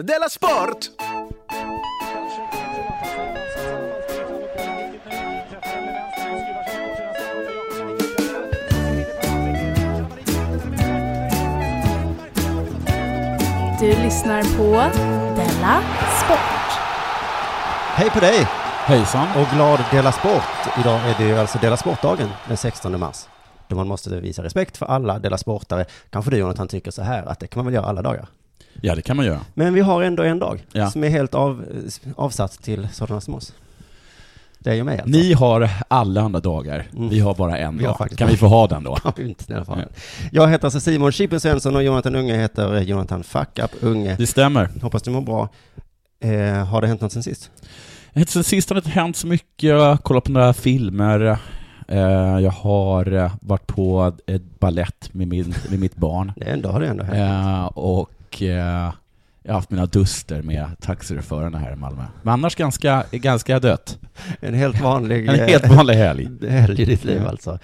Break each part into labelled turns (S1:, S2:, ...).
S1: Della Sport!
S2: Du lyssnar på Della Sport.
S3: Hej på dig
S4: Hejsan.
S3: och glad Dela Sport. Idag är det ju alltså Dela Sportdagen den 16 mars. Då man måste visa respekt för alla Dela Sportare. Kanske du Jonathan tycker så här att det kan man väl göra alla dagar.
S4: Ja, det kan man göra.
S3: Men vi har ändå en dag
S4: Ja.
S3: som är helt av, eh, avsatt till sådana som oss. Det är ju mig alltså.
S4: Ni har alla andra dagar.
S3: Mm.
S4: Vi har bara en
S3: Vi har
S4: dag.
S3: faktiskt
S4: Kan
S3: bara-
S4: vi få ha den då?
S3: Ja, inte i alla fall. Jag heter alltså Simon Chippen Svensson och Jonathan Unge heter Jonathan Fuck Up Unge.
S4: Det stämmer.
S3: Hoppas du mår bra. Eh, har det hänt något sen sist?
S4: Sen sist har det inte hänt så mycket. Jag har kollat på några filmer. Eh, Jag har eh, varit på ett ballett med, min, med mitt barn.
S3: Det ändå har det ändå hänt.
S4: Eh, Och eh, jag har haft mina duster med taxichaufförerna här i Malmö. Men annars ganska, ganska dött.
S3: En helt vanlig...
S4: En
S3: eh,
S4: helt vanlig helg.
S3: helg i ditt liv alltså.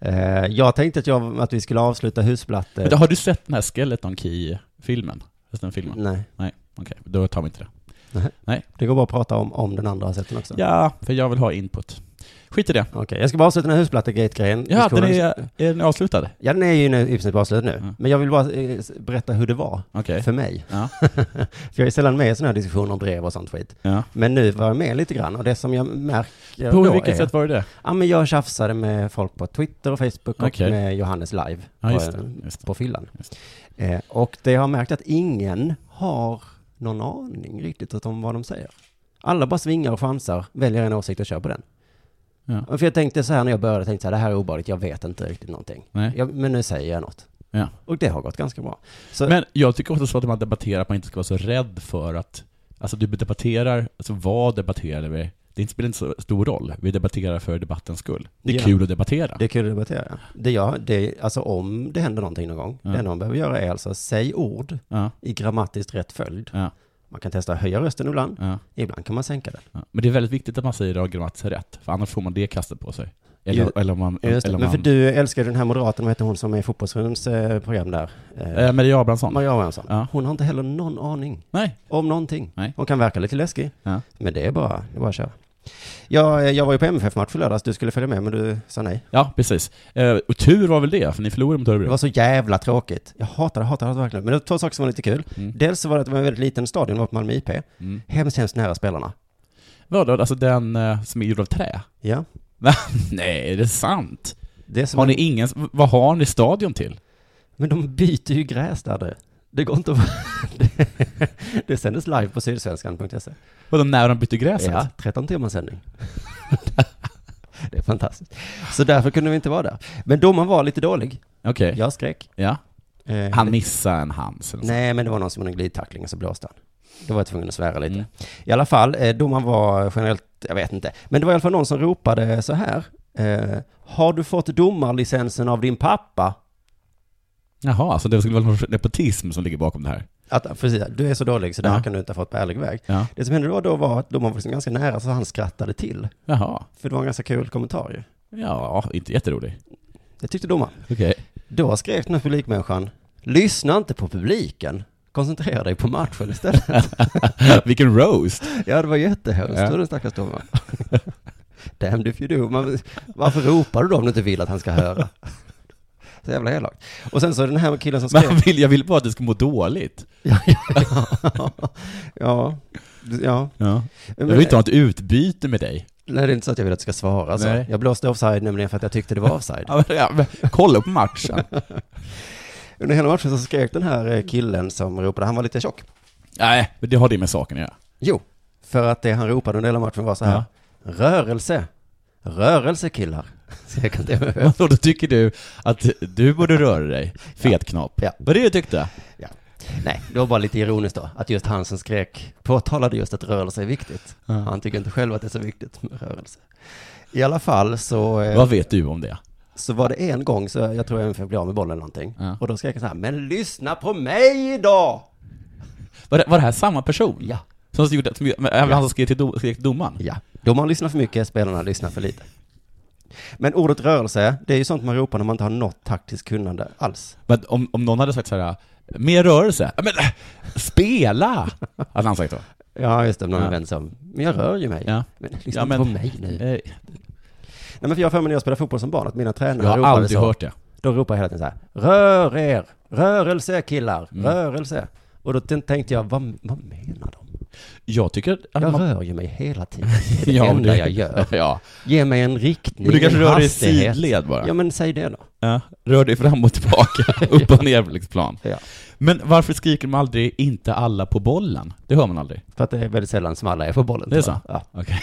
S3: Eh, jag tänkte att, jag, att vi skulle avsluta husplatte.
S4: Men har du sett den här Skeleton Key-filmen? Just Den filmen?
S3: Nej,
S4: Okej, då tar vi inte det.
S3: det går bara att prata om, om den andra har sett den också.
S4: Ja, Alltså. för jag vill ha input. Skit i det.
S3: Okej, jag ska bara avsluta den här husplatte-gate-grejen. Vi
S4: Ja,
S3: ska
S4: den
S3: hålla-
S4: är, är den avslutad?
S3: ja, den är ju nu, i princip avslutad nu.
S4: Mm.
S3: Men jag vill bara eh, s- berätta hur det var
S4: Okej.
S3: för mig.
S4: Ja.
S3: För jag är sällan med i sådana här diskussioner om brev och sånt skit.
S4: Ja.
S3: Men nu var jag med lite grann och det som jag märker
S4: På
S3: då
S4: vilket
S3: är,
S4: sätt var det det?
S3: Ja, men jag tjafsade med folk på Twitter och Facebook och
S4: Okej.
S3: med Johannes live
S4: Ja, just
S3: på,
S4: det. Just det.
S3: på fyllan.
S4: Just
S3: Eh, och det jag har märkt att ingen har någon aning riktigt om vad de säger. Alla bara svingar och chansar, väljer en åsikt och kör på den.
S4: Ja.
S3: För jag tänkte så här när jag började, tänkte så här, det här är obehagligt, jag vet inte riktigt någonting.
S4: Nej.
S3: Jag, men nu säger jag något.
S4: Ja.
S3: Och det har gått ganska bra. Så,
S4: Men jag tycker också så att man debatterar, att man inte ska vara så rädd för att... Alltså du debatterar, alltså vad debatterar vi? Det spelar inte så stor roll. Vi debatterar för debattens skull. Det är
S3: Ja.
S4: kul att debattera.
S3: det är kul att debattera. Det jag, det, alltså om det händer någonting någon gång,
S4: Ja.
S3: det enda man behöver göra är alltså, säg ord
S4: Ja,
S3: i grammatiskt rätt följd.
S4: Ja.
S3: Man kan testa att höja rösten ibland,
S4: ja,
S3: ibland kan man sänka den.
S4: ja. Men det är väldigt viktigt att man säger det grammatiskt rätt, för annars får man det kastat på sig. Eller,
S3: Ju-
S4: eller om man...
S3: Ja, Just det.
S4: eller om
S3: Men för
S4: man-
S3: du älskar ju den här moderaten, vad heter hon som är i Fotbollsrundens eh, program där? Eh,
S4: Eh, Maria Abrahamsson?
S3: Maria Abrahamsson.
S4: Ja.
S3: Hon har inte heller någon aning
S4: Nej.
S3: om någonting.
S4: Nej.
S3: Hon kan verka lite läskig,
S4: Ja.
S3: men det är bara, det är bara att köra. Jag, eh, jag var ju på MFF-match i lördags, du skulle följa med men du sa nej.
S4: Ja, precis. Eh, och tur var väl det, för ni förlorade mot
S3: Det
S4: Örebro.
S3: var så jävla tråkigt. Jag hatar det, hatar det, hatar det verkligen. Men det var två saker som var lite kul.
S4: Mm.
S3: Dels så var det att det var en väldigt liten stadion, det var på Malmö IP.
S4: Mm.
S3: Hemskt, hemskt nära spelarna.
S4: Vadå, alltså den eh, som är gjord av trä?
S3: Ja.
S4: Nej, är det sant?
S3: Det är som
S4: Har
S3: en-
S4: ni ingen, vad har ni stadion till?
S3: Men de byter ju gräs där du. Det går inte att... det, det sändes live på sydsvenskan.se.
S4: Vadå, när de bytte gräset?
S3: Ja, 13 timmars sändning. det är fantastiskt. Så därför kunde vi inte vara där. Men domaren var lite dålig.
S4: Okej. Ja.
S3: Jag skrek. Eh,
S4: Han missade en hands eller
S3: Nej, men det var någon som hade en glidtackling och så blåste han. Då var jag tvungen att svära lite.
S4: Mm.
S3: I alla fall, eh, domaren var generellt, jag vet inte. Men det var i alla fall någon som ropade så här. Eh, har du fått domarlicensen av din pappa?
S4: Jaha, alltså det skulle vara någon sorts nepotism som ligger bakom det här?
S3: Att, precis, du är så dålig så det här
S4: Ja.
S3: kan du inte ha fått på ärlig väg.
S4: Ja.
S3: Det som hände då, då var att domaren var liksom ganska nära så han skrattade till.
S4: Jaha.
S3: För det var en ganska kul kommentar ju.
S4: Ja, inte jätterolig.
S3: Det tyckte domaren.
S4: Okej.
S3: Då skrek den här publikmänniskan, lyssna inte på publiken, koncentrera dig på matchen istället.
S4: Vilken roast!
S3: ja, det var jättehemskt,
S4: Ja.
S3: ja. den stackars domaren. Damn if you do. Man, varför ropar du då om du inte vill att han ska höra? Så jävla elakt. Och sen så den här killen som
S4: Men
S3: skrev...
S4: jag vill, jag vill bara att du ska må dåligt.
S3: ja, ja, ja, ja.
S4: Ja. Jag
S3: Men-
S4: vill inte ha ett utbyte med dig.
S3: Nej, det är inte så att jag vill att du ska svara så.
S4: Nej.
S3: Jag blåste offside nämligen för att jag tyckte det var offside.
S4: Ja, men- ja, men Kolla på matchen.
S3: Under hela matchen så skrek den här eh, killen som ropade, han var lite tjock.
S4: Nej, men det har det med saken att göra.
S3: Jo, för att det han ropade under hela matchen var så här.
S4: Ja.
S3: Rörelse. Rörelse killar. Så jag kan inte...
S4: Vadå, då tycker du att du borde röra dig, fetknap?
S3: Ja.
S4: Vad det du tyckte?
S3: Nej, det var bara lite ironiskt då. Att just han som skrek påtalade just att rörelse är viktigt.
S4: Ja.
S3: Han tycker inte själv att det är så viktigt med rörelse. I alla fall så, eh,
S4: Vad vet du om det?
S3: så var det en gång, så jag tror jag blev av med bollen eller någonting.
S4: Ja.
S3: Och då skrek han så här, men lyssna på mig då!
S4: Var det, var det här samma person?
S3: Ja.
S4: Som gjorde, som, men även han som skrev till, dom, skrev till domaren?
S3: Ja, domaren lyssnar för mycket, spelarna lyssnar för lite. Men ordet rörelse, det är ju sånt man ropar när man inte har något taktiskt kunnande alls.
S4: Men om, om någon hade sagt så här, mer rörelse? Ja, Men, äh, spela! Hade han sagt då?
S3: Ja, just det, någon
S4: Ja.
S3: vän som, men jag rör ju mig.
S4: Ja.
S3: Men lyssna
S4: Ja,
S3: inte
S4: men-
S3: på mig nu. Nej
S4: Eh,
S3: men för jag har för mig när jag spelade fotboll som barn att mina
S4: Jag
S3: tränare
S4: har
S3: ropade
S4: aldrig
S3: så.
S4: hört det.
S3: De ropade hela tiden så här, rör er, rörelse killar,
S4: Mm.
S3: rörelse. Och då t- tänkte jag, vad, vad menar de?
S4: Jag tycker att
S3: Jag
S4: man-
S3: rör ju mig hela tiden, det är det
S4: Mm. Ja, men
S3: enda
S4: du-
S3: jag gör.
S4: ja.
S3: Ge mig en riktning,
S4: Men du kanske
S3: en
S4: rör dig i
S3: hastighet.
S4: sidled bara?
S3: Ja men säg det då.
S4: Ja, rör dig fram och tillbaka, upp och ner på liksom plan.
S3: Ja.
S4: Men varför skriker de aldrig 'inte alla på bollen'? Det hör man aldrig.
S3: För att det är väldigt sällan som alla är på bollen.
S4: Det är
S3: tror
S4: så?
S3: jag. Ja,
S4: Okej.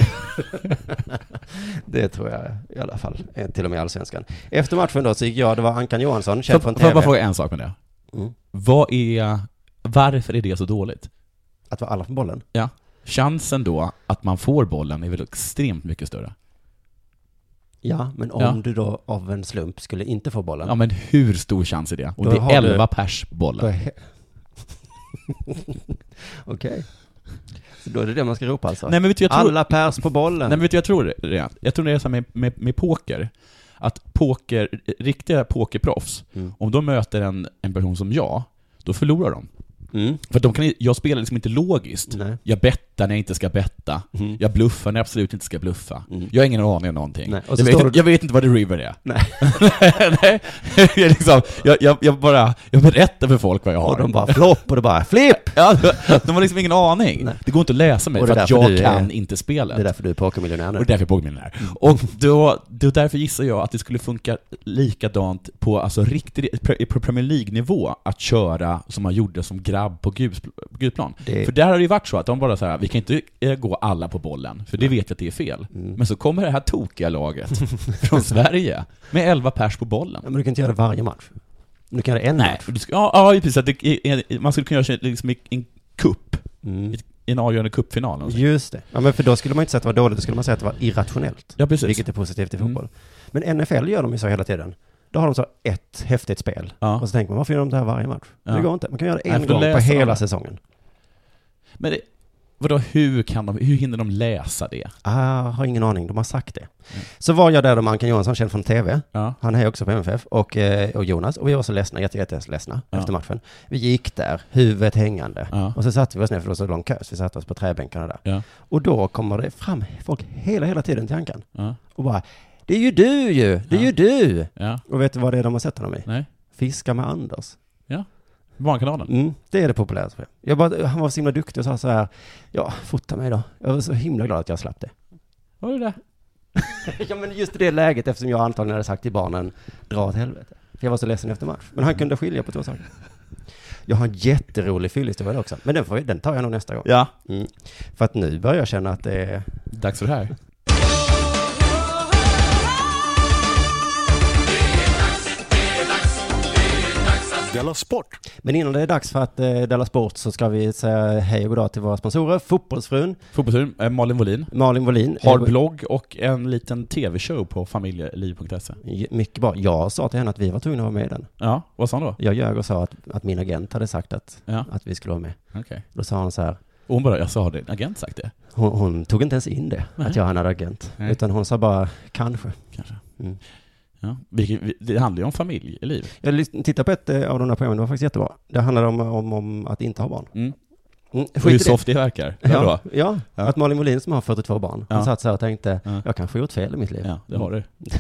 S3: det tror jag i alla fall. Eh, Till och med i allsvenskan. Efter matchen då så gick jag, det var Ankan Johansson, känd
S4: Får
S3: från
S4: får jag
S3: TV.
S4: bara fråga en sak med det?
S3: Mm.
S4: Vad är, varför är det så dåligt?
S3: Att vara alla på bollen.
S4: Ja. Chansen då att man får bollen är väl extremt mycket större?
S3: Ja, men om
S4: Ja.
S3: du då av en slump skulle inte få bollen.
S4: Ja men hur stor chans är det? Om
S3: Då
S4: det
S3: har
S4: är
S3: du-
S4: 11 pers
S3: då
S4: på bollen?
S3: är- Okej. Så då är det det man ska ropa alltså?
S4: Nej men vet du, jag tror...
S3: alla pers på bollen.
S4: Nej men vet du, jag tror det. Jag tror det är så här med, med, med poker. Att poker, riktiga pokerproffs,
S3: Mm.
S4: om de möter en, en person som jag, då förlorar de.
S3: Mm.
S4: För de kan, jag spelar liksom inte logiskt.
S3: Nej.
S4: Jag bettar när jag inte ska betta.
S3: Mm.
S4: Jag bluffar när jag absolut inte ska bluffa.
S3: Mm.
S4: Jag har ingen aning om någonting.
S3: Nej, och
S4: Jag
S3: så
S4: vet,
S3: står du-
S4: jag vet inte vad the river är.
S3: Nej.
S4: Nej, jag, är liksom, jag, jag, jag bara jag berättar för folk vad jag har.
S3: Och de bara flopp och det bara flipp!
S4: ja, de har liksom ingen aning.
S3: Nej.
S4: Det går inte att läsa mig
S3: Och det
S4: för att
S3: är därför
S4: jag
S3: du är-
S4: kan inte spelet.
S3: Det är därför du är pokermiljonär
S4: Och
S3: nu.
S4: det är därför jag påminner här. Och då, då därför gissar jag att det skulle funka likadant på alltså riktig, pre- på Premier League-nivå att köra som man gjorde som grabb på Guds- på Gudplan.
S3: Det-
S4: För där har det ju varit så att de bara så här, vi kan inte eh, gå alla på bollen, för det vet vi att det är fel.
S3: Mm.
S4: Men så kommer det här tokiga laget från Sverige med 11 pers på bollen.
S3: Ja, Men du kan inte göra det varje match. Men Du kan göra det en
S4: Nej,
S3: match.
S4: för du ska, ja, ja, precis. Att det, är- man skulle kunna göra liksom i en cup,
S3: Mm.
S4: i en avgörande cupfinal. eller någonting.
S3: Just det. Ja, men för då skulle man inte säga att det var dåligt, då skulle man säga att det var irrationellt.
S4: Ja, precis.
S3: Vilket är positivt i
S4: Mm.
S3: fotboll. Men NFL gör de ju så hela tiden. Då har de så ett häftigt spel.
S4: Ja.
S3: Och så tänker man, varför gör de det här varje match?
S4: Ja.
S3: Det går inte. Man kan göra det
S4: Nej,
S3: en
S4: för då
S3: gång på
S4: läser de
S3: hela
S4: det.
S3: säsongen.
S4: Men det, vadå, hur, kan de, hur hinner de läsa det?
S3: Ah, har ingen aning, de har sagt det.
S4: Mm.
S3: Så var jag där då med Ankan Johansson, känd från TV.
S4: Ja.
S3: Han är också på MFF och, eh, och Jonas. Och vi var så ledsna, jätte, jätte ledsna
S4: Ja.
S3: efter matchen. Vi gick där, huvudet hängande.
S4: Ja.
S3: Och så satte vi oss ner, för det var så lång kö, så vi satte oss på träbänkarna där.
S4: Ja.
S3: Och då kommer det fram folk hela, hela tiden till Ankan.
S4: Ja.
S3: Och bara, det är ju du ju, det är
S4: Ja.
S3: ju du!
S4: ja.
S3: Och vet du vad det är de har sett honom i?
S4: Nej.
S3: Fiska med Anders.
S4: Barnkanalen.
S3: Mm, det är det populäraste. Jag bara, han var så himla duktig och sa så här, ja, fota mig då. Jag var så himla glad att jag slapp det.
S4: Var det det?
S3: Ja men just i det läget eftersom jag antagligen hade sagt till barnen dra åt helvete. För jag var så ledsen efter match. Men han kunde skilja på två saker. Jag har en jätterolig fyllhistoria också. Men den, får, vi- den tar jag nog nästa gång.
S4: Ja.
S3: Mm. För att nu börjar jag känna att det är...
S4: Dags för det här.
S1: Della Sport!
S3: Men innan det är dags för att eh, Della Sport så ska vi säga hej och goddag till våra sponsorer. Fotbollsfrun,
S4: Fotbollstur, eh, Malin Wollin.
S3: Malin Wollin.
S4: Har
S3: Eh,
S4: blogg och en liten tv-show på familjeliv.se.
S3: j- Mycket bra. Jag sa till henne att vi var tvungna att vara med i den.
S4: Ja, vad sa hon då?
S3: Jag ljög och sa att, att min agent hade sagt att,
S4: Ja.
S3: att vi skulle vara med.
S4: Okej.
S3: Då sa hon så här,
S4: Och hon bara, jag sa har din agent sagt det?
S3: hon, hon tog inte ens in det,
S4: Nej.
S3: att jag hade en agent.
S4: Nej.
S3: Utan hon sa bara, kanske.
S4: Kanske.
S3: Mm.
S4: Ja. Vi, vi, det handlar ju om familjeliv.
S3: Jag lys- tittade på ett eh, av de där programmen, det var faktiskt jättebra. Det handlade om, om, om att inte ha barn.
S4: Mm.
S3: Mm,
S4: Och hur
S3: skit i det.
S4: soft det verkar.
S3: Ja,
S4: Ja.
S3: ja,
S4: Ja.
S3: att Malin Molin som har 42 barn,
S4: Ja.
S3: hon satt så här och tänkte,
S4: Ja.
S3: jag kanske har gjort fel i mitt liv.
S4: ja, det har
S3: Mm.
S4: du.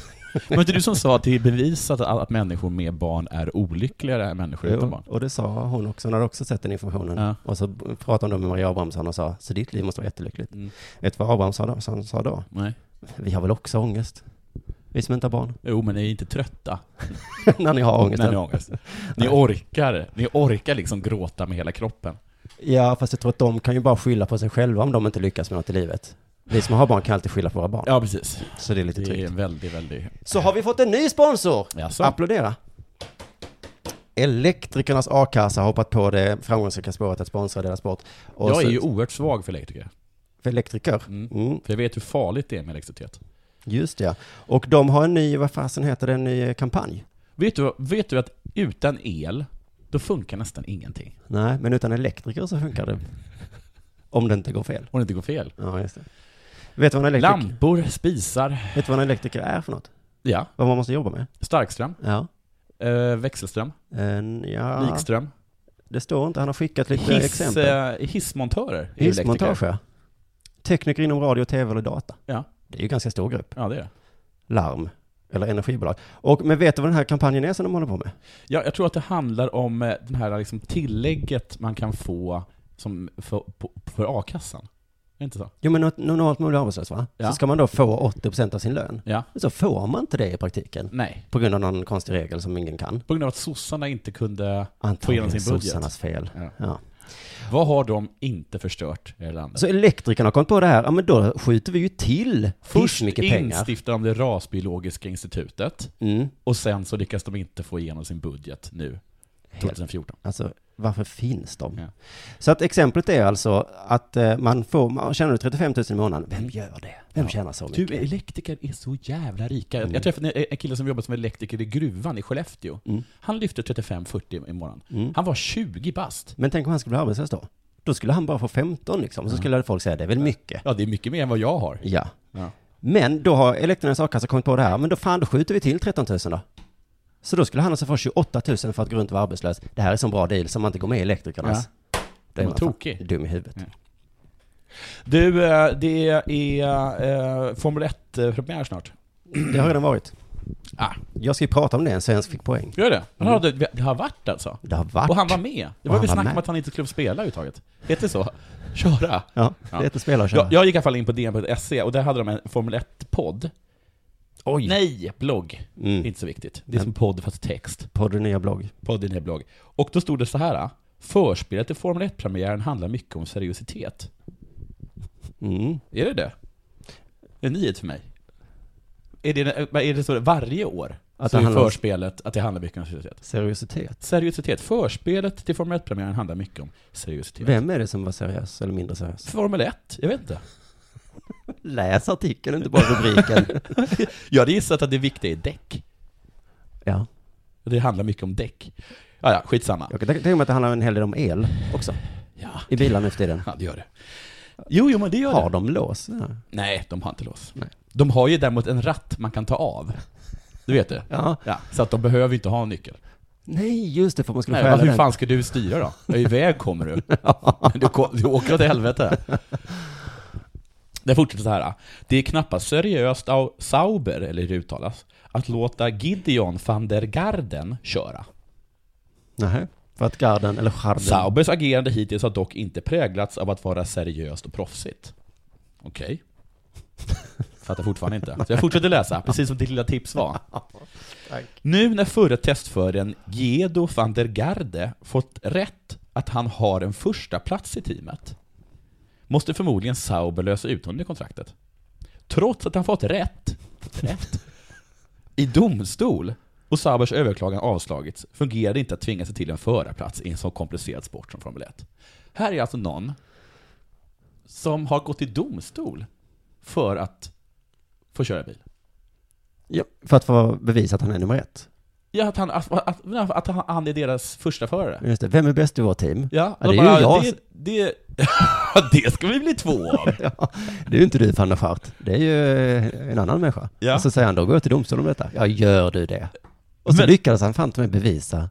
S4: Men inte du som sa att det är bevisat att, att människor med barn är olyckligare än människor utan
S3: Jo,
S4: barn?
S3: och det sa hon också, hon hade också sett den informationen.
S4: Ja.
S3: Och så pratade hon då med Maria Abrahamsson och sa, så ditt liv måste vara jättelyckligt.
S4: Mm.
S3: Vet du vad Abrahamsson sa då?
S4: Nej.
S3: Vi har väl också ångest? Vi som inte har barn.
S4: Jo, men ni är inte trötta
S3: när ni har ångest.
S4: när ni har ångest. Ni orkar, ni orkar liksom gråta med hela kroppen.
S3: Ja, fast jag tror att de kan ju bara skylla på sig själva om de inte lyckas med något i livet. Vi som har barn kan alltid skylla på våra barn.
S4: Ja, precis.
S3: Så det är lite
S4: Det är
S3: tryggt.
S4: en väldigt, väldigt...
S3: Så har vi fått en ny sponsor!
S4: Jaså?
S3: Applådera! Elektrikernas a-kassa har hoppat på det framgångsrika spåret att sponsra deras sport. Och
S4: Jag är
S3: så-
S4: ju oerhört svag för elektriker.
S3: för elektriker.
S4: Mm.
S3: Mm,
S4: För jag vet hur farligt det är med elektricitet.
S3: just det. Och de har en ny, vad fasen heter det, en ny eh, kampanj?
S4: Vet du, vet du att utan el, då funkar nästan ingenting.
S3: Nej, men utan elektriker så funkar det. Om det inte går fel.
S4: Om det inte går fel.
S3: Ja, just det. Vet du vad en elektriker,
S4: Lampor, spisar,
S3: vet du vad en elektriker är för något?
S4: ja,
S3: Vad man måste jobba med?
S4: starkström,
S3: Ja.
S4: eh, växelström,
S3: En, ja.
S4: likström.
S3: Det står inte, han har skickat lite
S4: Hiss,
S3: exempel.
S4: eh, hissmontörer är ju
S3: Hissmontage,
S4: elektriker.
S3: ja. Tekniker inom radio, tv eller data.
S4: Ja.
S3: Det är ju en ganska stor grupp.
S4: Ja, det är det.
S3: Larm eller energibolag. Och, men vet du vad den här kampanjen är som de håller på med?
S4: Ja, jag tror att det handlar om eh, den här liksom tillägget man kan få som för, på, för a-kassan. Är det inte så?
S3: Jo, men något- normalt man blir arbetslös, va?
S4: Ja.
S3: Så ska man då få 80% av sin lön.
S4: Ja.
S3: Men så får man inte det i praktiken.
S4: Nej.
S3: På grund av någon konstig regel som ingen kan.
S4: På grund av att sossarna inte kunde...
S3: Antagligen
S4: sin budget.
S3: sossarnas fel.
S4: Ja.
S3: Ja.
S4: Vad har de inte förstört i det här landet?
S3: Så elektrikerna har kommit på det här, ja men då skjuter vi ju till
S4: Först
S3: Först mycket pengar.
S4: instiftar de det rasbiologiska institutet,
S3: Mm.
S4: och sen så lyckas de inte få igenom sin budget nu, 2014.
S3: Alltså, varför finns de?
S4: Ja.
S3: Så att exemplet är alltså att eh, man får, man tjänar 35 000 i månaden. Vem gör det? Vem
S4: Mm. Ja.
S3: tjänar så mycket?
S4: Du, elektriker är så jävla rika. Jag-
S3: Mm.
S4: Jag träffade en- en kille som jobbade som elektriker i gruvan i Skellefteå.
S3: Mm.
S4: Han lyfte 35-40 i månaden.
S3: Mm.
S4: Han var 20 bast.
S3: Men tänk om han skulle bli arbetslös då? Då skulle han bara få 15 liksom, så skulle folk säga det är väl mycket.
S4: Mm. Ja, det är mycket mer än vad jag har.
S3: Ja.
S4: Ja.
S3: Men då har elektrikernas a-kassa kommit på det här, men då fan, då skjuter vi till 13 000 då. Så då skulle han alltså få 28 000 för att gå runt och vara arbetslös. Det här är en sån bra deal som man inte går med i elektrikernas. Då
S4: Den
S3: är
S4: var
S3: man fan
S4: tokig.
S3: Dum i huvudet.
S4: Ja. Du, eh, det är eh, Formel 1-premiär snart.
S3: Det har redan varit.
S4: Ah,
S3: Jag ska ju prata om det, en svensk fick poäng.
S4: gör det? Han hade, det har varit alltså?
S3: Det har varit.
S4: Och han var med? Det
S3: Och
S4: var
S3: han
S4: väl
S3: var
S4: snack om
S3: med.
S4: att han inte skulle få spela överhuvudtaget? Heter det så? Köra?
S3: Ja,
S4: Ja.
S3: det är ett spel att köra.
S4: Jag, jag gick i alla fall in på dn.se och där hade de en Formel 1-podd.
S3: Oj.
S4: Nej, blogg.
S3: Mm.
S4: Inte så viktigt. Det är som podd fast text.
S3: Podd och nya blogg.
S4: Podden är blogg. Och då stod det så här. Förspelet till Formel 1-premiären handlar mycket om seriositet.
S3: Mm.
S4: Är det det? Det är en nyhet för mig. Är det, vad är det så varje år?
S3: Att
S4: Att
S3: det
S4: så är
S3: handlar om-
S4: förspelet att det handlar mycket om seriositet.
S3: Seriositet.
S4: Seriositet. Förspelet till Formel 1-premiären handlar mycket om seriositet.
S3: Vem är det som var seriös eller mindre seriös?
S4: Formel 1? Jag vet inte.
S3: Läs artikeln, inte bara rubriken.
S4: Jag hade gissat att det viktiga är däck.
S3: ja.
S4: Det handlar mycket om däck. Ah, Ja, ja, skitsamma.
S3: Jag kan tänka mig att det handlar en hel del om el också.
S4: Ja.
S3: I bilar nu för tiden.
S4: Ja, det gör det. Jo, jo, men det gör
S3: Har
S4: det.
S3: de lås? Ja.
S4: Nej, de har inte lås.
S3: Nej.
S4: De har ju däremot en ratt man kan ta av. Du vet det?
S3: ja.
S4: Ja, så att de behöver inte ha en nyckel.
S3: Nej, just det, för man skulle
S4: Nej, men
S3: stjäla
S4: hur
S3: den.
S4: fan ska du styra då? Ja, iväg kommer du. Men du, ko- du åker åt helvete. Det fortsätter så här. Det är knappast seriöst av Sauber, eller hur det uttalas, att låta Gideon van der Garden köra.
S3: Nej, för att garden, eller charden.
S4: Saubers agerande hittills har dock inte präglats av att vara seriöst och proffsigt. Okej. Fattar fortfarande inte. Så jag fortsätter läsa, precis som ditt lilla tips var. Nu när förre testföraren Gedo van der Garde fått rätt att han har en första plats i teamet måste förmodligen Sauber lösa ut honom i kontraktet. Trots att han fått rätt, rätt i domstol och Saubers överklagan avslagits fungerar det inte att tvinga sig till en förarplats i en så komplicerad sport som Formel 1. Här är alltså någon som har gått till domstol för att få köra bil.
S3: Ja, för att få bevisa att han är nummer ett.
S4: Ja, att han, att, att, att han- han är deras första förare.
S3: Just det, vem är bäst i vårt team?
S4: Ja,
S3: Ja,
S4: de
S3: det är ju jag.
S4: Det, det, det ska vi bli två av.
S3: Ja, det är ju inte du, van der Schart. Det är ju eh, en annan människa.
S4: Ja.
S3: Och så säger han, då går jag till domstol om detta. Ja, gör du det? Och så
S4: Men-
S3: lyckades han fan med bevisa.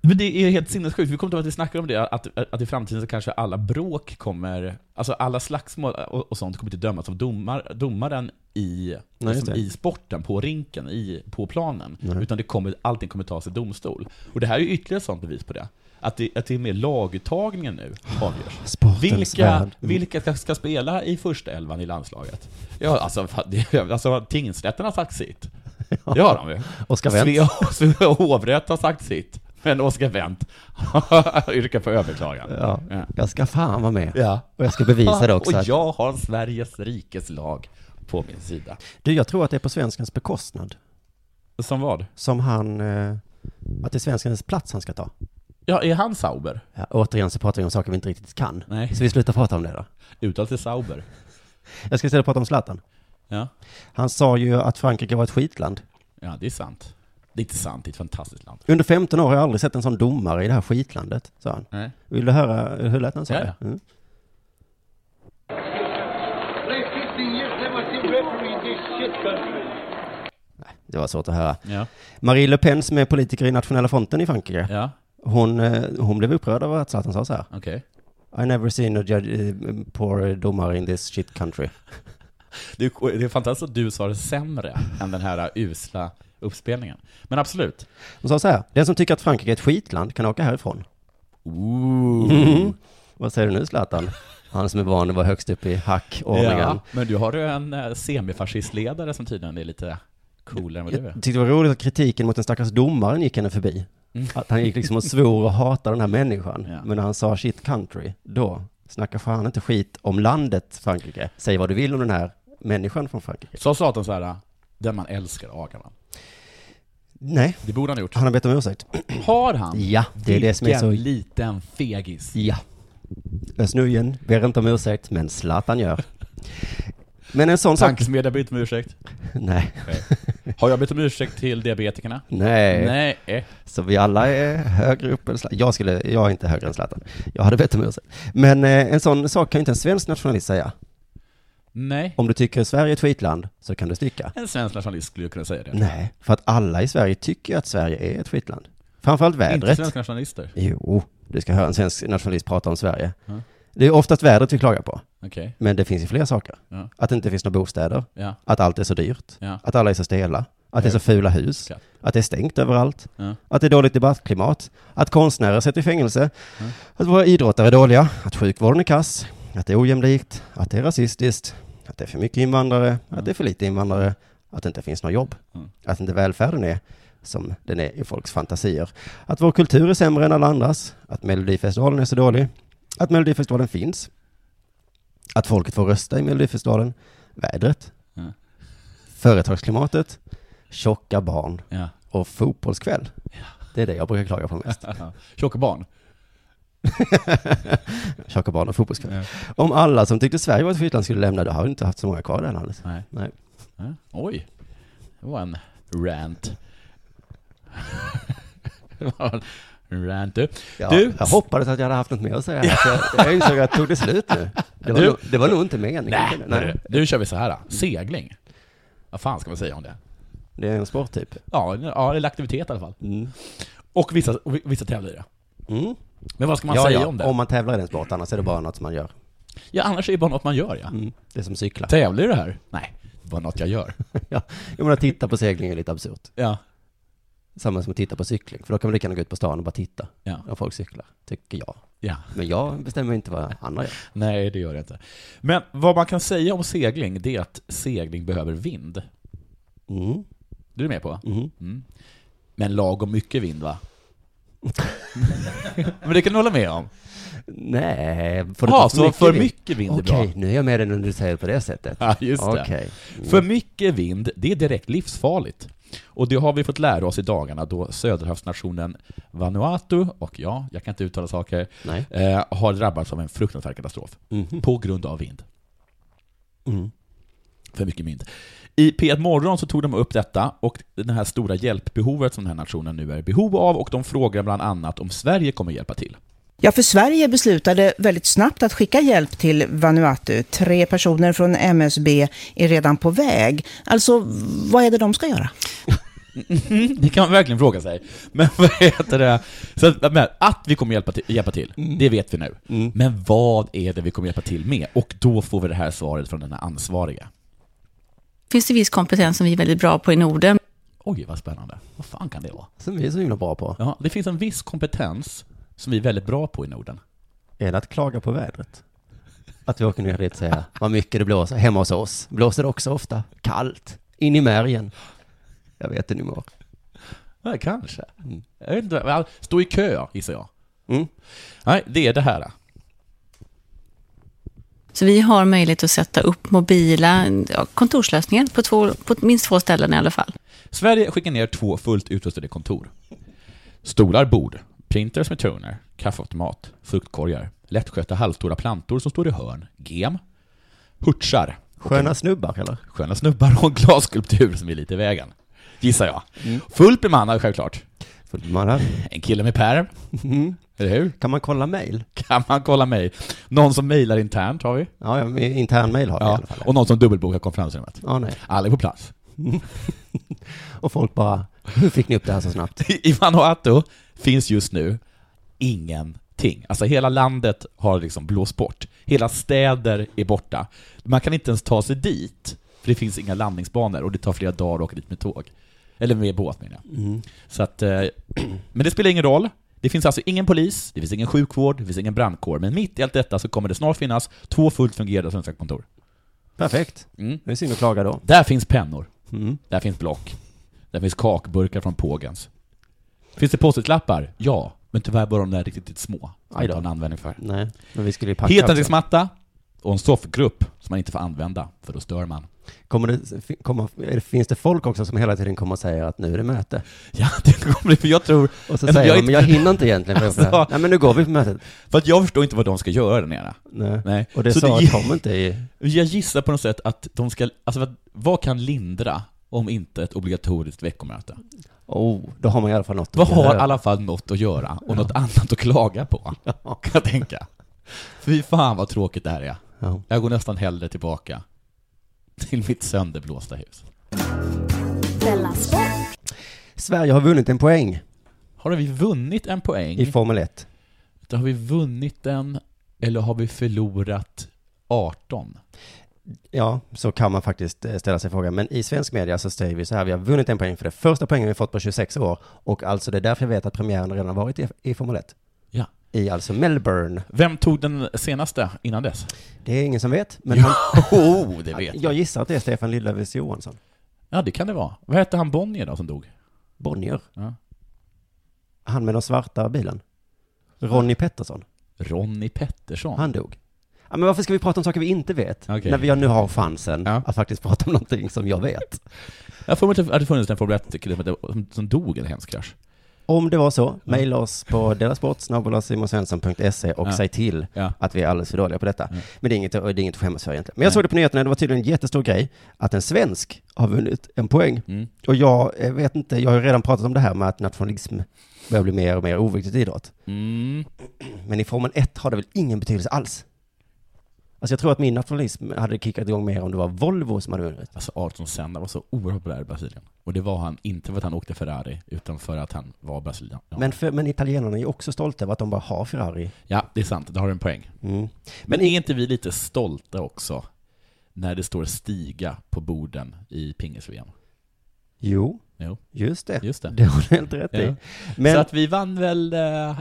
S4: Men det är helt sinnessjukt, vi kommer till att vi snackar om det, att, att i framtiden så kanske alla bråk kommer, alltså alla slagsmål och, och sånt kommer inte dömas av domar, domaren i,
S3: Nej, just
S4: liksom,
S3: det.
S4: i sporten, på rinken, i, på planen.
S3: Nej.
S4: Utan det kommer, allting kommer tas i domstol. Och det här är ju ytterligare ett sånt bevis på det. Att det, att det är mer laguttagningen nu avgörs.
S3: Sportens
S4: Vilka,
S3: värld. Mm.
S4: vilka ska, ska spela i första elvan i landslaget? Ja, alltså, fan, det, alltså tingsrätten har sagt sitt. Det har de ju.
S3: Oskar Wendt.
S4: Svea Svea hovrätt har sagt sitt, men Oskar Wendt yrkar på överklagan.
S3: Ja,
S4: Ja.
S3: jag ska fan vara med.
S4: Ja.
S3: Och jag ska bevisa det också.
S4: Och
S3: att-
S4: jag har Sveriges rikes lag på min sida.
S3: Du, jag tror att det är på svenskens bekostnad
S4: Som vad?
S3: som han, eh, att det är svenskens plats han ska ta.
S4: Ja, är han Sauber?
S3: Ja, återigen så pratar vi om saker vi inte riktigt kan.
S4: Nej.
S3: Så vi slutar prata om det då.
S4: Uttalet är Sauber.
S3: Jag ska istället prata om Zlatan.
S4: Ja.
S3: Han sa ju att Frankrike var ett skitland.
S4: ja, det är sant. Det är inte sant, det är ett fantastiskt land.
S3: Under 15 år har jag aldrig sett en sån domare i det här skitlandet, sa han.
S4: Nej.
S3: Vill du höra hur lät han sa
S4: Ja,
S3: det? Mm.
S5: Play 15 years, never seen referee in this shit country.
S3: Det var svårt att höra.
S4: Ja,
S3: Marie Le Pen som är politiker i Nationella fronten i Frankrike
S4: ja.
S3: Hon, eh, hon blev upprörd över att Zlatan sa så här.
S4: Okej.
S3: I never seen a judge, eh, poor domare in this shit country.
S4: Det är- det är fantastiskt att du sa det sämre än den här usla uppspelningen. Men absolut.
S3: Hon sa så här. Den som tycker att Frankrike är ett skitland kan åka härifrån.
S4: Ooh.
S3: Vad säger du nu Zlatan? Han som är van att vara högst upp i hackordningen.
S4: Ja, men du har ju en eh, semifascistledare som tydligen är lite coolare än vad du
S3: Jag
S4: är.
S3: tyckte det var roligt att kritiken mot den stackars domaren gick henne förbi. Att han gick liksom och svor och hatade den här människan.
S4: Ja.
S3: Men när han sa shit country, då snackar fan inte skit om landet Frankrike. Säg vad du vill om den här människan från Frankrike.
S4: Sa Satan så här, den man älskar agar man.
S3: Nej,
S4: Det borde han ha gjort.
S3: han har bett om ursäkt.
S4: Har han?
S3: Ja, det är det som är
S4: Vilken
S3: så...
S4: liten fegis.
S3: Ja. Snurgen ber inte om ursäkt, men Zlatan gör. Men en sån sak...
S4: Tankesmedja bett om ursäkt.
S3: Nej.
S4: Har jag bett om ursäkt till diabetikerna?
S3: Nej.
S4: Nej. eh.
S3: Så vi alla är högre upp än Zlatan. Jag, skulle, jag är inte högre än Zlatan. Jag hade bett om ursäkt. Men eh, en sån sak kan ju inte en svensk nationalist säga.
S4: Nej.
S3: Om du tycker Sverige är ett skitland så kan du sticka.
S4: En svensk nationalist skulle ju kunna säga det.
S3: Nej, för att alla i Sverige tycker ju att Sverige är ett skitland. Framförallt
S4: Inte
S3: vädret.
S4: svenska nationalister.
S3: Jo, du ska höra en svensk nationalist prata om Sverige.
S4: Ja.
S3: Det är oftast vädret vi klagar på,
S4: Okej.
S3: men det finns ju fler saker.
S4: Ja.
S3: Att det inte finns några bostäder,
S4: Ja.
S3: att allt är så dyrt,
S4: Ja.
S3: att alla är så stela, att det är så fula hus,
S4: Ja.
S3: att det är stängt överallt,
S4: Ja.
S3: att det är dåligt debattklimat, att konstnärer sätter i fängelse, att våra idrottare är dåliga, att sjukvården är kass, att det är ojämlikt, att det är rasistiskt, att det är för mycket invandrare, att det är för lite invandrare, att det inte finns några jobb,
S4: Mm.
S3: att inte välfärden är som den är i folks fantasier, att vår kultur är sämre än alla andras, att Melodifestivalen är så dålig, att Melodifestivalen finns, att folket får rösta i Melodifestivalen, vädret,
S4: Mm.
S3: företagsklimatet, tjocka barn
S4: Ja.
S3: och fotbollskväll. Det är det jag brukar klaga på mest.
S4: Tjocka barn.
S3: Tjocka barn och fotbollskväll. Om alla som tyckte Sverige var ett skitland skulle lämna, då har vi inte haft så många kvar i det här landet.
S4: Nej.
S3: Nej.
S4: Ja. Oj. Det var en rant. Det var en rant du.
S3: Jag,
S4: Du-
S3: jag hoppades att jag hade haft något mer att säga. här, så Jag, jag insåg att jag tog det slut nu. Det var,
S4: Du-
S3: nog, det var nog inte meningen.
S4: Nej, nej. Nu kör vi så här. då. Segling. Vad fan ska man säga om det?
S3: Det är en typ. sporttyp.
S4: Ja, ja det är en aktivitet i alla fall.
S3: Mm.
S4: Och vissa, och vissa tävlar i det.
S3: Mm.
S4: Men vad ska man
S3: Ja,
S4: säga
S3: ja,
S4: om det?
S3: om man tävlar i den sport, annars är det bara något som man gör.
S4: Ja, annars är det bara något man gör ja.
S3: Mm. Det är som cykla.
S4: Tävlar i det här? Nej, det är bara något jag gör.
S3: Ja. Jag menar, titta på segling är lite absurt.
S4: Ja.
S3: Samma som att titta på cykling, för då kan man lika gärna gå ut på stan och bara titta
S4: Ja.
S3: när folk cyklar, tycker jag.
S4: ja.
S3: Men jag bestämmer inte vad andra gör.
S4: Nej, det gör jag inte. Men vad man kan säga om segling, det är att segling behöver vind.
S3: Mm.
S4: Du är med på?
S3: Mm.
S4: Men lagom mycket vind va? Men det kan du hålla med om?
S3: Nej, får det
S4: Ja,
S3: ta
S4: så för
S3: vind?
S4: mycket vind är bra.
S3: Okej, nu är jag med dig när du säger det på det sättet.
S4: Ja, just det.
S3: Okej.
S4: För mycket vind, det är direkt livsfarligt. Och det har vi fått lära oss i dagarna då söderhavsnationen Vanuatu, och ja, jag kan inte uttala saker,
S3: Nej.
S4: eh, har drabbats av en fruktansvärd katastrof.
S3: Mhm.
S4: På grund av vind.
S3: Mm.
S4: För mycket vind. I P1 Morgon så tog de upp detta och det här stora hjälpbehovet som den här nationen nu är i behov av och de frågar bland annat om Sverige kommer hjälpa till.
S6: Ja, för Sverige beslutade väldigt snabbt att skicka hjälp till Vanuatu. Tre personer från MSB är redan på väg. Alltså, vad är det de ska göra?
S4: Det kan man verkligen fråga sig. Men vad heter det? Så att, men, att vi kommer hjälpa till, hjälpa till det vet vi nu. Men vad är det vi kommer hjälpa till med? Och då får vi det här svaret från den här ansvariga.
S7: finns det viss kompetens som vi är väldigt bra på i Norden.
S4: Oj, vad spännande. Vad fan kan det vara?
S3: Som vi är så himla bra på.
S4: Ja, det finns en viss kompetens som vi är väldigt bra på i Norden.
S3: Är det att klaga på vädret? Att vi åker ner dit och säga vad mycket det blåser hemma hos oss. Blåser det också ofta. Kallt. In i märgen. Jag vet hur ni mår.
S4: Ja, kanske. Jag vet inte, men stå i kö, gissar jag.
S3: Mm.
S4: Nej, det är det här.
S7: Så vi har möjlighet att sätta upp mobila ja, kontorslösningar på, två, på minst två ställen i alla fall.
S4: Sverige skickar ner två fullt utrustade kontor. Stolar, bord, printers med toner, kaffeautomat, fruktkorgar, lättskötta halvstora plantor som står i hörn, gem, hurtsar,
S3: Sköna snubbar eller?
S4: sköna snubbar och en glasskulptur som är lite i vägen. Gissar jag.
S3: Mm.
S4: Fullt bemannad självklart.
S3: För man har,
S4: En kille med pärm.
S3: Mm.
S4: Eller hur?
S3: kan man kolla mejl?
S4: Kan man kolla mig? Någon som mejlar internt har vi.
S3: Ja, ja, men intern mejl har vi i
S4: Ja,
S3: alla fall.
S4: och någon som dubbelbokar konferensrummet.
S3: Ja, nej.
S4: Alla är på plats.
S3: Och folk bara, hur fick ni upp det här så snabbt?
S4: I Vanuatu finns just nu ingenting. Alltså hela landet har liksom blåst bort. Hela städer är borta. Man kan inte ens ta sig dit, för det finns inga landningsbanor och det tar flera dagar att åka dit med tåg. Eller med båt menar jag. Så att, eh, men det spelar ingen roll. Det finns alltså ingen polis, det finns ingen sjukvård, det finns ingen brandkår. Men mitt i allt detta så kommer det snart finnas två fullt fungerande svenska kontor.
S3: Perfekt.
S4: Mm.
S3: Det är synd att klaga då.
S4: Där finns pennor.
S3: Mm.
S4: Där finns block. Där finns kakburkar från Pågens. Finns det post-it-lappar? Ja, men tyvärr bara de där riktigt, riktigt små. Som
S3: Aj
S4: inte
S3: då. alltså.
S4: har en användning för.
S3: Nej, men vi skulle ju packa. också.
S4: Heltäckningsmatta och en soffgrupp som man inte får använda, för då stör man.
S3: Kommer det, fin- kommer, är det- finns det folk också som hela tiden kommer och säger att nu är det möte?
S4: Ja, det kommer bli, för jag tror...
S3: Och så
S4: Alltså,
S3: säger
S4: jag
S3: de,
S4: är
S3: men jag hinner inte egentligen. För
S4: Alltså-
S3: Nej, men nu går vi på mötet.
S4: För att jag förstår inte vad de ska göra där nere.
S3: Nej.
S4: Nej.
S3: Och det
S4: Så
S3: sa
S4: det-
S3: Tom inte i...
S4: Jag gissar på något sätt att de ska... Alltså, vad- vad kan lindra om inte ett obligatoriskt veckomöte?
S3: Oh, då har man i alla fall något att
S4: Vad har i
S3: göra.
S4: alla fall något att göra och något annat att klaga på, kan jag tänka. Fy fan vad tråkigt det här är.
S3: Ja.
S4: Jag går nästan hellre tillbaka till mitt sönderblåsta hus.
S2: Della Sport.
S3: Sverige har vunnit en poäng
S4: Har vi vunnit en poäng?
S3: i Formel 1.
S4: Har vi vunnit den, eller har vi förlorat 18?
S3: Ja, så kan man faktiskt eh, ställa sig frågan. Men i svensk media så säger vi så här, vi har vunnit en poäng för det första poängen vi fått på 26 år. Och alltså det är därför jag vet att premiären redan har varit i, i Formel 1.
S4: Ja.
S3: I alltså Melbourne.
S4: Vem tog den senaste innan dess?
S3: Det är ingen som vet, men han,
S4: Oh, det vet
S3: jag gissar att det är Stefan Lillöfs Johansson.
S4: Ja, det kan det vara. Vad hette han Bonnier då som dog?
S3: Bonnier.
S4: Ja.
S3: Han med den svarta bilen. Ronnie Pettersson.
S4: Ronny Pettersson.
S3: Han dog. Ja, men varför ska vi prata om saker vi inte vet?
S4: Okej.
S3: När vi nu har chansen
S4: Ja.
S3: att faktiskt prata om någonting som jag vet.
S4: Jag får mig att det funnits en Formel 1-kille som hette- som, som dog i en hemsk krasch.
S3: Om det var så, mejla oss på delasport.simonsvensson.se och
S4: Ja.
S3: säg till
S4: Ja.
S3: att vi är alldeles för dåliga på detta. Men det är inget, det är inget att skämmas för egentligen. Men jag såg det på nyheterna, det var tydligen en jättestor grej att en svensk har vunnit en poäng.
S4: Mm.
S3: Och jag eh, vet inte, jag har ju redan pratat om det här med att nationalism börjar bli mer och mer oviktigt i idrott.
S4: Mm.
S3: Men i Formel 1 har det väl ingen betydelse alls? Alltså jag tror att min nationalism hade kickat igång mer om det var Volvo som hade vunnit.
S4: Alltså Ayrton Senna var så oerhört populär i Brasilien. Och det var han inte för att han åkte Ferrari, utan för att han var Brasilien. Ja,
S3: Men, för, men italienarna är ju också stolta över att de bara har Ferrari.
S4: ja det är sant. Där har du en poäng.
S3: Mm.
S4: Men är inte vi lite stolta också när det står stiga på borden i pingis-VM?
S3: Jo,
S4: Jo,
S3: just det.
S4: just det.
S3: Det har du helt rätt
S4: Ja.
S3: i. Men,
S4: Så att vi vann väl eh,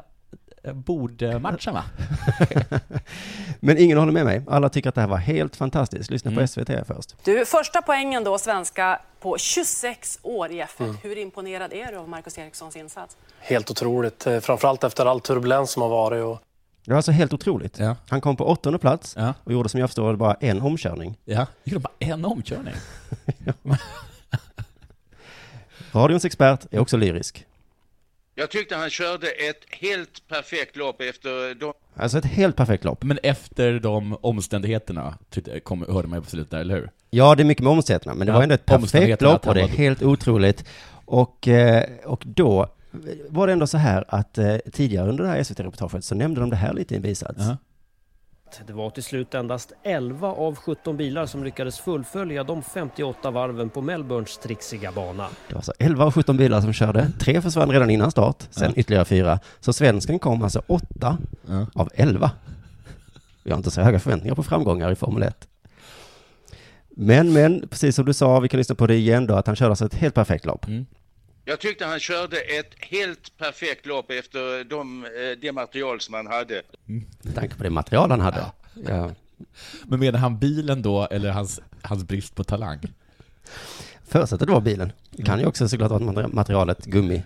S4: bordmatchen va?
S3: men ingen håller med mig. Alla tycker att det här var helt fantastiskt. Lyssna
S4: Mm.
S3: på SVT först.
S8: Du, första poängen då, svenska, på 26 år i F1. Hur imponerad är du av Marcus Erikssons insats?
S9: Helt otroligt, eh, framförallt efter all turbulens som har varit. Och
S3: Det var alltså helt otroligt.
S4: Ja.
S3: Han kom på åttonde plats
S4: Ja.
S3: och gjorde som jag förstår det, bara en omkörning.
S4: Ja. Vi gjorde bara en omkörning.
S3: Radions expert är också lyrisk.
S5: Jag tyckte han körde ett helt perfekt lopp efter de
S3: Alltså ett helt perfekt lopp.
S4: Men efter de omständigheterna tyckte- kom, hörde man ju på slutet där, eller hur?
S3: Ja, det är mycket med omständigheterna, men det
S4: Ja,
S3: var ändå ett perfekt
S4: omständigheterna
S3: lopp och det är
S4: att han var-
S3: helt otroligt. Och, eh, och då var det ändå så här att eh, tidigare under det här SVT-reportaget så nämnde de det här lite i en bisats.
S4: Ja.
S10: Det var till slut endast 11 av 17 bilar som lyckades fullfölja de 58 varven på Melbournes trixiga bana.
S3: Det var så 11 av 17 bilar som körde, tre försvann redan innan start, sen ytterligare fyra. Så svensken kom alltså åtta
S4: Ja.
S3: av 11. Vi har inte så höga förväntningar på framgångar i Formel 1. Men, men, precis som du sa, vi kan lyssna på det igen då, att han körde alltså ett helt perfekt lopp.
S4: Mm.
S5: Jag tyckte han körde ett helt perfekt lopp efter de, eh, det material som han hade.
S3: Med tanke på det material han hade. Ja.
S4: Men menar han bilen då, eller hans, hans brist på talang?
S3: Förutsatt att det var bilen. Det
S4: Mm.
S3: kan ju också såklart vara att materialet gummi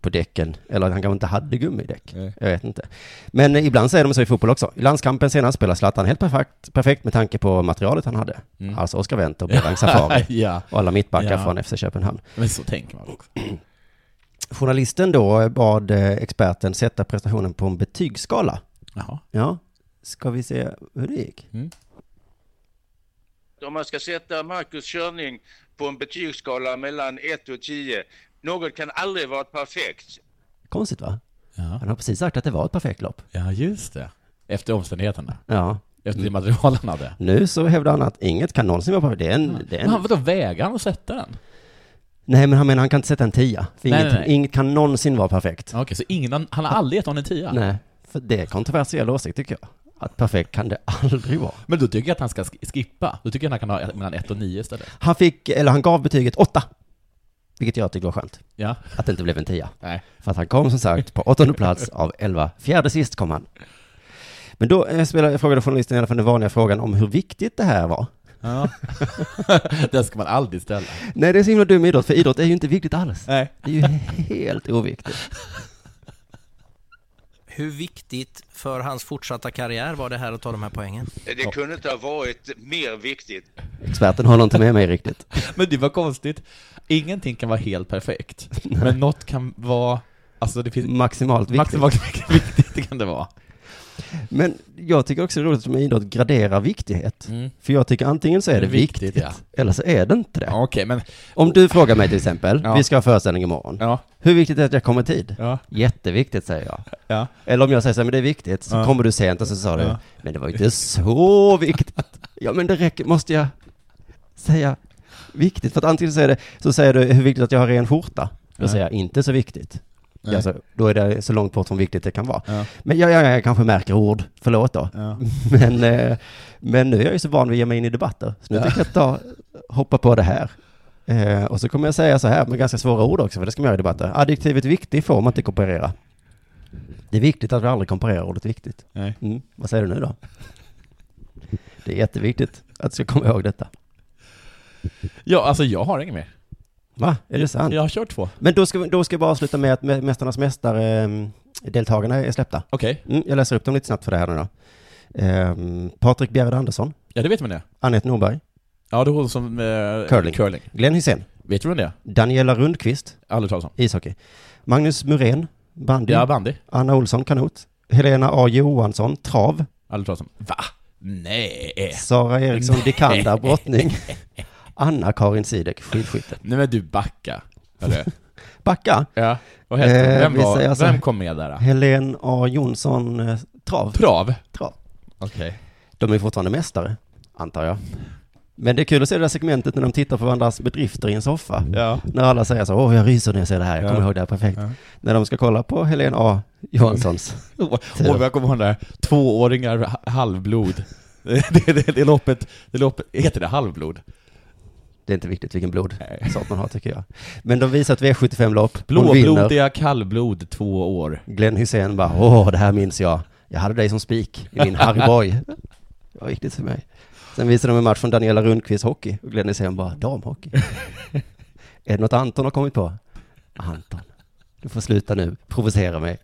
S3: på däcken. Eller att han kanske inte hade gummidäck.
S4: Nej.
S3: Jag vet inte. Men eh, ibland säger de så i fotboll också. I landskampen senast spelar Zlatan helt perfekt, perfekt med tanke på materialet han hade. Alltså Oscar Wendt och Behrang Safari
S4: Mm. ja,
S3: och alla mittbackar
S4: Ja.
S3: från FC Köpenhamn.
S4: men så tänker man också.
S3: Journalisten då bad eh, experten sätta prestationen på en betygsskala.
S4: Jaha.
S3: Ja, ska vi se hur det gick?
S4: Mm.
S5: Om man ska sätta Marcus körning på en betygsskala mellan 1 och 10, något kan aldrig vara perfekt.
S3: Konstigt va?
S4: Ja.
S3: Han har precis sagt att det var ett perfekt lopp.
S4: ja, just det. Efter omständigheterna.
S3: Ja,
S4: Efter det material han hade.
S3: nu så hävdar han att inget kan någonsin vara perfekt. Det är en, det är
S4: Men
S3: en
S4: han, vadå, vägade han att sätta den?
S3: Nej, men han menar han kan inte sätta en tia. För
S4: Nej,
S3: inget,
S4: nej, nej.
S3: inget kan någonsin vara perfekt.
S4: Okej, så ingen, han har aldrig gett någon en tia?
S3: Nej, för det är en kontroversiell åsikt tycker jag. Att perfekt kan det aldrig vara.
S4: Men då tycker jag att han ska sk- skippa. Då tycker jag att han kan ha mellan 1 och 9 istället.
S3: Han fick, eller han gav betyget åtta. Vilket jag tycker var skönt.
S4: Ja.
S3: Att det inte blev en tia.
S4: Nej.
S3: För att han kom som sagt på åttonde plats av elva. Fjärde sist kom han. Men då eh, spelade, frågade journalisten i alla fall den vanliga frågan om hur viktigt det här var.
S4: Ja. Den ska man aldrig ställa.
S3: Nej, det är så himla dum idrott, för idrott är ju inte viktigt alls.
S4: Nej.
S3: Det är ju helt oviktigt.
S11: Hur viktigt för hans fortsatta karriär var det här att ta de här poängen?
S5: Eh, Det kunde inte ha varit mer viktigt.
S3: Experten håller inte med mig riktigt.
S4: Men det var konstigt. Ingenting kan vara helt perfekt. Men något kan vara... Alltså det finns...
S3: Maximalt viktigt.
S4: Maximalt viktigt det kan det vara.
S3: Men jag tycker också det är roligt att man i idrott graderar viktighet.
S4: Mm.
S3: För jag tycker antingen så är det viktigt,
S4: ja.
S3: eller så är det inte det.
S4: Ja, Okej, men...
S3: Om du frågar mig till exempel,
S4: Ja.
S3: vi ska ha föreställning imorgon.
S4: Ja.
S3: Hur viktigt är det att jag kommer i tid?
S4: Ja.
S3: Jätteviktigt säger jag.
S4: Ja.
S3: Eller om jag säger så här, men det är viktigt, så
S4: Ja.
S3: kommer du sent och så sa du,
S4: Ja.
S3: men det var ju inte så viktigt. Ja men det räcker, måste jag säga viktigt? För att antingen så, är det, så säger du, hur viktigt att jag har ren skjorta? Då
S4: Nej.
S3: säger jag, inte så viktigt.
S4: Nej.
S3: Alltså, då är det så långt bort från viktigt det kan vara.
S4: Ja.
S3: Men jag, jag, jag kanske märker ord, förlåt då.
S4: Ja.
S3: Men, eh, men nu är jag ju så van vid att ge mig in i debatter, så nu
S4: Ja.
S3: tänker jag ta, hoppa på det här. Eh, och så kommer jag säga så här med ganska svåra ord också, för det ska man göra i debatter. Adjektivet viktig får man inte komparera. Det är viktigt att vi aldrig komparerar ordet viktigt.
S4: Nej.
S3: Mm. Vad säger du nu då? Det är jätteviktigt att du ska komma ihåg detta.
S4: Ja, alltså jag har inget mer.
S3: Va? Är det sant?
S4: Jag har kört två.
S3: Men då ska, vi- då ska jag bara avsluta med att Mä- Mästarnas Mästare-deltagarna är släppta.
S4: Okej.
S3: Mm, jag läser upp dem lite snabbt för det här nu då. Ehm, Patrik Bjerred Andersson,
S4: Ja, det vet man det.
S3: Anette Norberg,
S4: Ja, det är hon som... Eh,
S3: Curling.
S4: curling.
S3: Glenn Hysén,
S4: Vet du vem det är?
S3: Daniela Rundqvist,
S4: Aldrig talas om.
S3: ishockey, Magnus Muren, bandy,
S4: Ja, bandy.
S3: Anna Olsson, kanot, Helena A Johansson, trav,
S4: Aldrig talas om. Va? Nej.
S3: Sara Eriksson Dikanda, brottning, Anna-Karin Sidek, skidskytte.
S4: Nej men du backa. Eller?
S3: Backa,
S4: ja. Vad hette
S3: Eh,
S4: hon? Vem,
S3: vi
S4: var,
S3: säger så-
S4: vem kom med där? då?
S3: Helen A Jonsson, eh, trav.
S4: Trav?
S3: trav.
S4: Okej.
S3: De är fortfarande mästare, antar jag. Men det är kul att se det där segmentet när de tittar på varandras bedrifter i en soffa.
S4: Ja.
S3: När alla säger så, åh jag ryser när jag ser det här, jag
S4: Ja.
S3: kommer ihåg det här perfekt.
S4: Ja.
S3: När de ska kolla på Helena A Johanssons.
S4: Och jag kommer ihåg den där tvååringar ha- halvblod. Det, det, det, loppet, det loppet, heter det halvblod?
S3: Det är inte viktigt vilken
S4: Nej.
S3: blodsort man har tycker jag. Men de visar ett V75-lopp, hon vinner.
S4: Blåblodiga kallblod två år.
S3: Glenn Hussein bara, åh det här minns jag. Jag hade dig som spik i min Harryboy. Det var viktigt för mig. Sen visar de en match från Daniela Rundqvist hockey och Glenn Hussein bara, damhockey. är det något Anton har kommit på? Anton, du får sluta nu, provocera mig.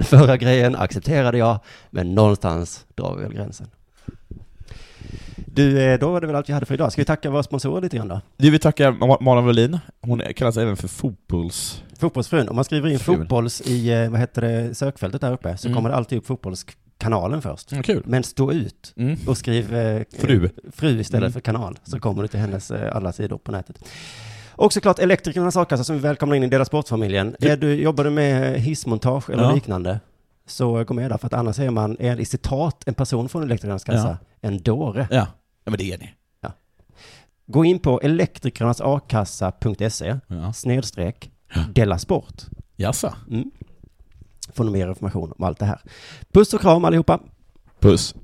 S3: Förra grejen accepterade jag, men någonstans drar vi väl gränsen. Du, eh, då var det väl allt vi hade för idag. Ska vi tacka våra sponsorer lite grann då?
S4: Du vill tacka Ma- Malin Wallin. Hon kallas även för fotbolls...
S3: Fotbollsfrun, om man skriver in
S4: Frun.
S3: fotbolls i, eh, vad heter det, sökfältet där uppe, så
S4: Mm.
S3: kommer det alltid upp fotbollskanalen först.
S4: Mm, kul.
S3: Men stå ut
S4: Mm.
S3: och skriv eh,
S4: Fru.
S3: fru istället
S4: Mm.
S3: för kanal, så kommer du till hennes eh, alla sidor på nätet. Och såklart Elektrikernas A-kassa som vi välkomnar in i deras sportfamiljen.
S4: Du-
S3: Är du, jobbar du med hissmontage eller
S4: Ja.
S3: liknande, så eh, gå med där, för att annars är man, är i citat, en person från Elektrikernas kassa, en dåre.
S4: Ja. ja, men det är ni.
S3: Gå in på elektrikernasakassa.se,
S4: Ja.
S3: snedstreck, dela sport.
S4: Jaså?
S3: Mm. Får ni mer information om allt det här. Puss och kram allihopa!
S4: Puss.